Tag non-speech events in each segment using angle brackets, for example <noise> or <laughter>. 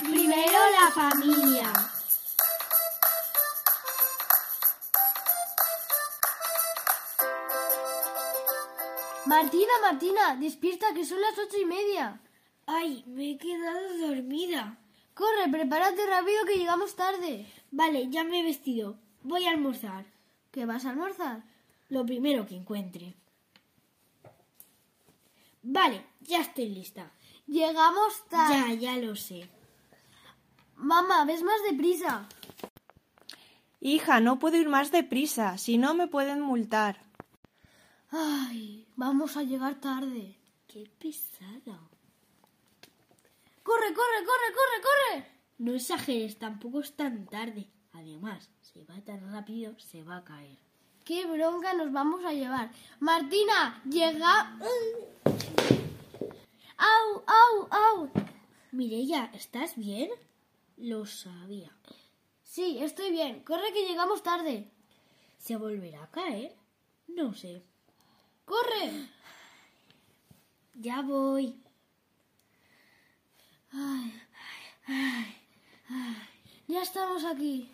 Primero la familia. Martina, Martina, despierta que son las ocho y media. Ay, me he quedado dormida. Corre, prepárate rápido que llegamos tarde. Vale, ya me he vestido. Voy a almorzar. ¿Qué vas a almorzar? Lo primero que encuentre. Vale, ya estoy lista. Llegamos tarde. Ya, ya lo sé. Mamá, ves más deprisa. Hija, no puedo ir más deprisa, si no me pueden multar. Ay, vamos a llegar tarde. Qué pesada. Corre, corre, corre, corre, corre. No exageres, tampoco es tan tarde. Además, si va tan rápido, se va a caer. Qué bronca nos vamos a llevar. Martina, llega. ¡Au, au, au! Mireya, ¿estás bien? Lo sabía. Sí, estoy bien. Corre que llegamos tarde. ¿Se volverá a caer? No sé. ¡Corre! Ya voy. Ay, ay, ay, ay. Ya estamos aquí.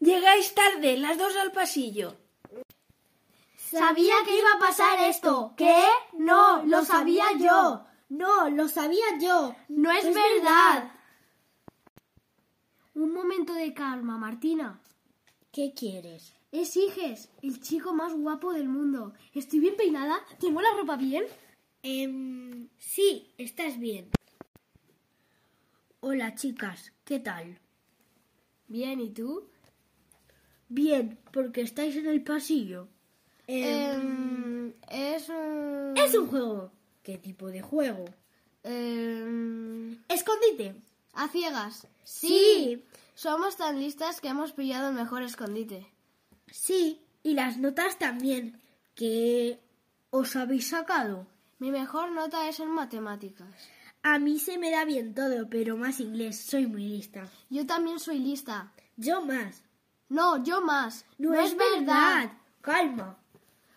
Llegáis tarde, las dos al pasillo. Sabía que iba a pasar esto. ¿Qué? No, lo sabía yo. No, lo sabía yo. No es, verdad. Un momento de calma, Martina. ¿Qué quieres? Es Iges, el chico más guapo del mundo. ¿Estoy bien peinada? ¿Tengo la ropa bien? Em, sí, estás bien. Hola, chicas, ¿qué tal? Bien, ¿y tú? Bien, porque estáis en el pasillo. Em, es un... Es un juego. ¿Qué tipo de juego? Em, Escondite. a ciegas. Sí. Somos tan listas que hemos pillado el mejor escondite. Sí, y las notas también. ¿Qué os habéis sacado? Mi mejor nota es en matemáticas. A mí se me da bien todo, pero más inglés, soy muy lista. Yo también soy lista. Yo más. No, yo más. No, es, verdad. Calma.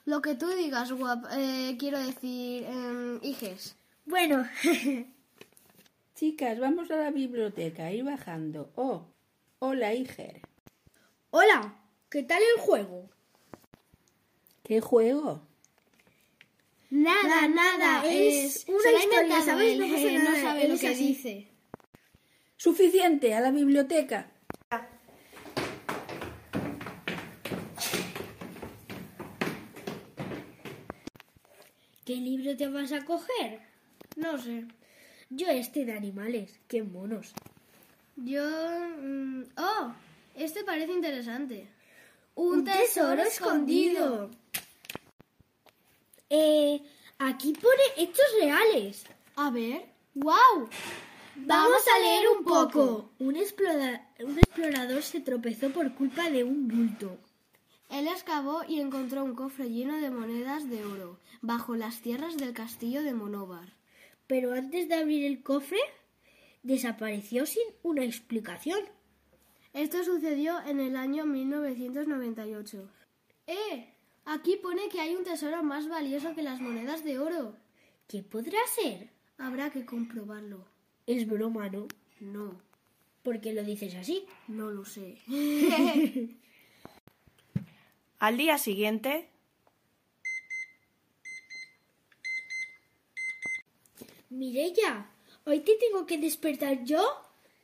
Lo que tú digas, guap, eh, quiero decir, em, hijes. Bueno, <laughs> Chicas, vamos a la biblioteca, ir bajando. Oh, hola, Iger. hola, ¿qué tal el juego? ¿Qué juego? Nada, se la ha inventado ¿sabéis? No él, pasa eh, nada, no sabe él lo es que así. dice. Suficiente, a la biblioteca. ¿Qué libro te vas a coger? No sé. Yo este de animales, qué monos. Yo... mm, oh, este parece interesante. Un tesoro escondido. Eh, aquí pone hechos reales. A ver. ¡Wow! Vamos a leer un poco. Un, explora- un explorador se tropezó por culpa de un bulto. Él excavó y encontró un cofre lleno de monedas de oro, bajo las tierras del castillo de Monóvar. Pero antes de abrir el cofre, desapareció sin una explicación. Esto sucedió en el año 1998. ¡Eh! Aquí pone que hay un tesoro más valioso que las monedas de oro. ¿Qué podrá ser? Habrá que comprobarlo. Es broma, ¿no? No, ¿Por qué lo dices así? no lo sé. <laughs> Al día siguiente, Mirella, ¿hoy te tengo que despertar yo?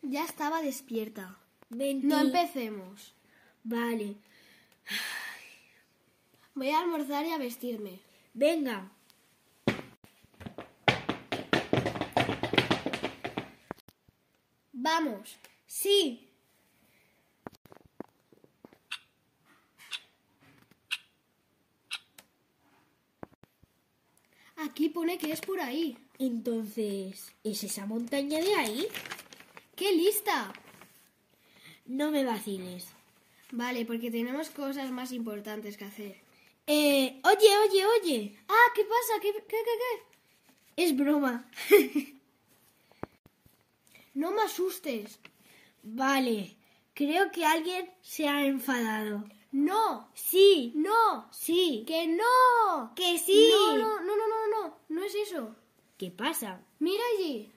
ya estaba despierta. Mentí. No empecemos. Vale. Voy a almorzar y a vestirme. Venga. Vamos. Sí. Aquí pone que es por ahí. Entonces, ¿es esa montaña de ahí? ¡Qué lista! No me vaciles. Vale, porque tenemos cosas más importantes que hacer. Eh, oye, oye, oye. Ah, ¿qué pasa? ¿Qué, qué, qué, qué? Es broma. No me asustes. Vale. Creo que alguien se ha enfadado. No, Sí. no, Sí. que no. Que sí. No, no, no, no, no, no, no es eso. ¿Qué pasa? Mira allí.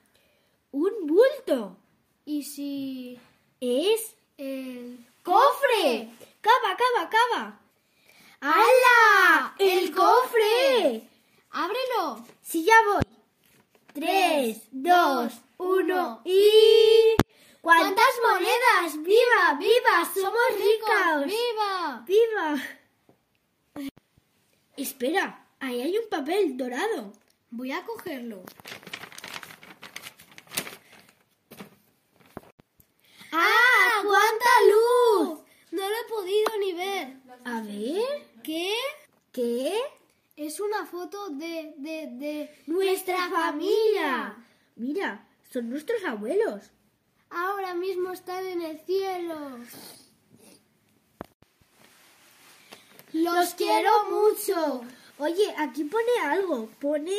un bulto. ¿Y si Es el cofre. Cava, cava, cava. ¡Hala! ¡El cofre! ¡Ábrelo! Si ya voy. Tres, dos, uno y... ¿Cuántas monedas? ¡Viva, viva! ¡Somos ricos! ¡Chicos, ¡Viva! ¡Viva! Espera, ahí hay un papel dorado. Voy a cogerlo. ¡Ah! ¡Cuánta luz! No lo he podido ni ver. A ver, ¿Qué? ¿qué? Es una foto de, de, de... ¡Nuestra familia! Mira, son nuestros abuelos. Ahora mismo están en el cielo. ¡Los quiero mucho! Oye, aquí pone algo. Pone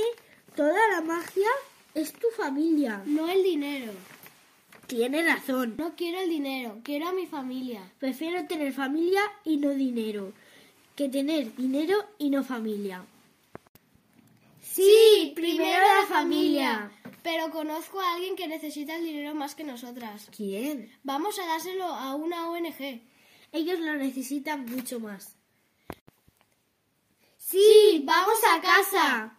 toda la magia es tu familia. No el dinero. Tiene razón. No quiero el dinero, quiero a mi familia. Prefiero tener familia y no dinero que tener dinero y no familia. ¡Sí! ¡Primero la familia! Pero conozco a alguien que necesita el dinero más que nosotras. ¿Quién? Vamos a dárselo a una ONG. Ellos lo necesitan mucho más. ¡Sí! ¡Vamos a casa!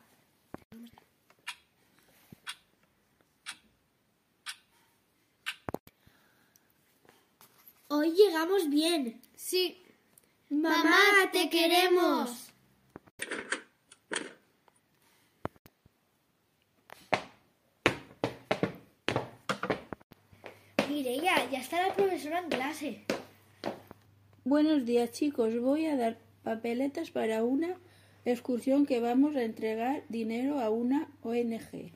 Hoy llegamos bien. Sí. ¡Mamá, te queremos! Mireia, ya está la profesora en clase. Buenos días chicos, voy a dar papeletas para una excursión que vamos a entregar dinero a una ONG.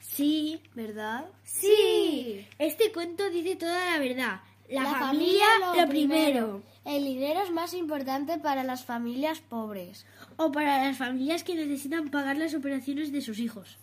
Sí, ¿Verdad? sí. Este cuento dice toda la verdad. La, familia, lo primero. El dinero es más importante para las familias pobres. O para las familias que necesitan pagar las operaciones de sus hijos.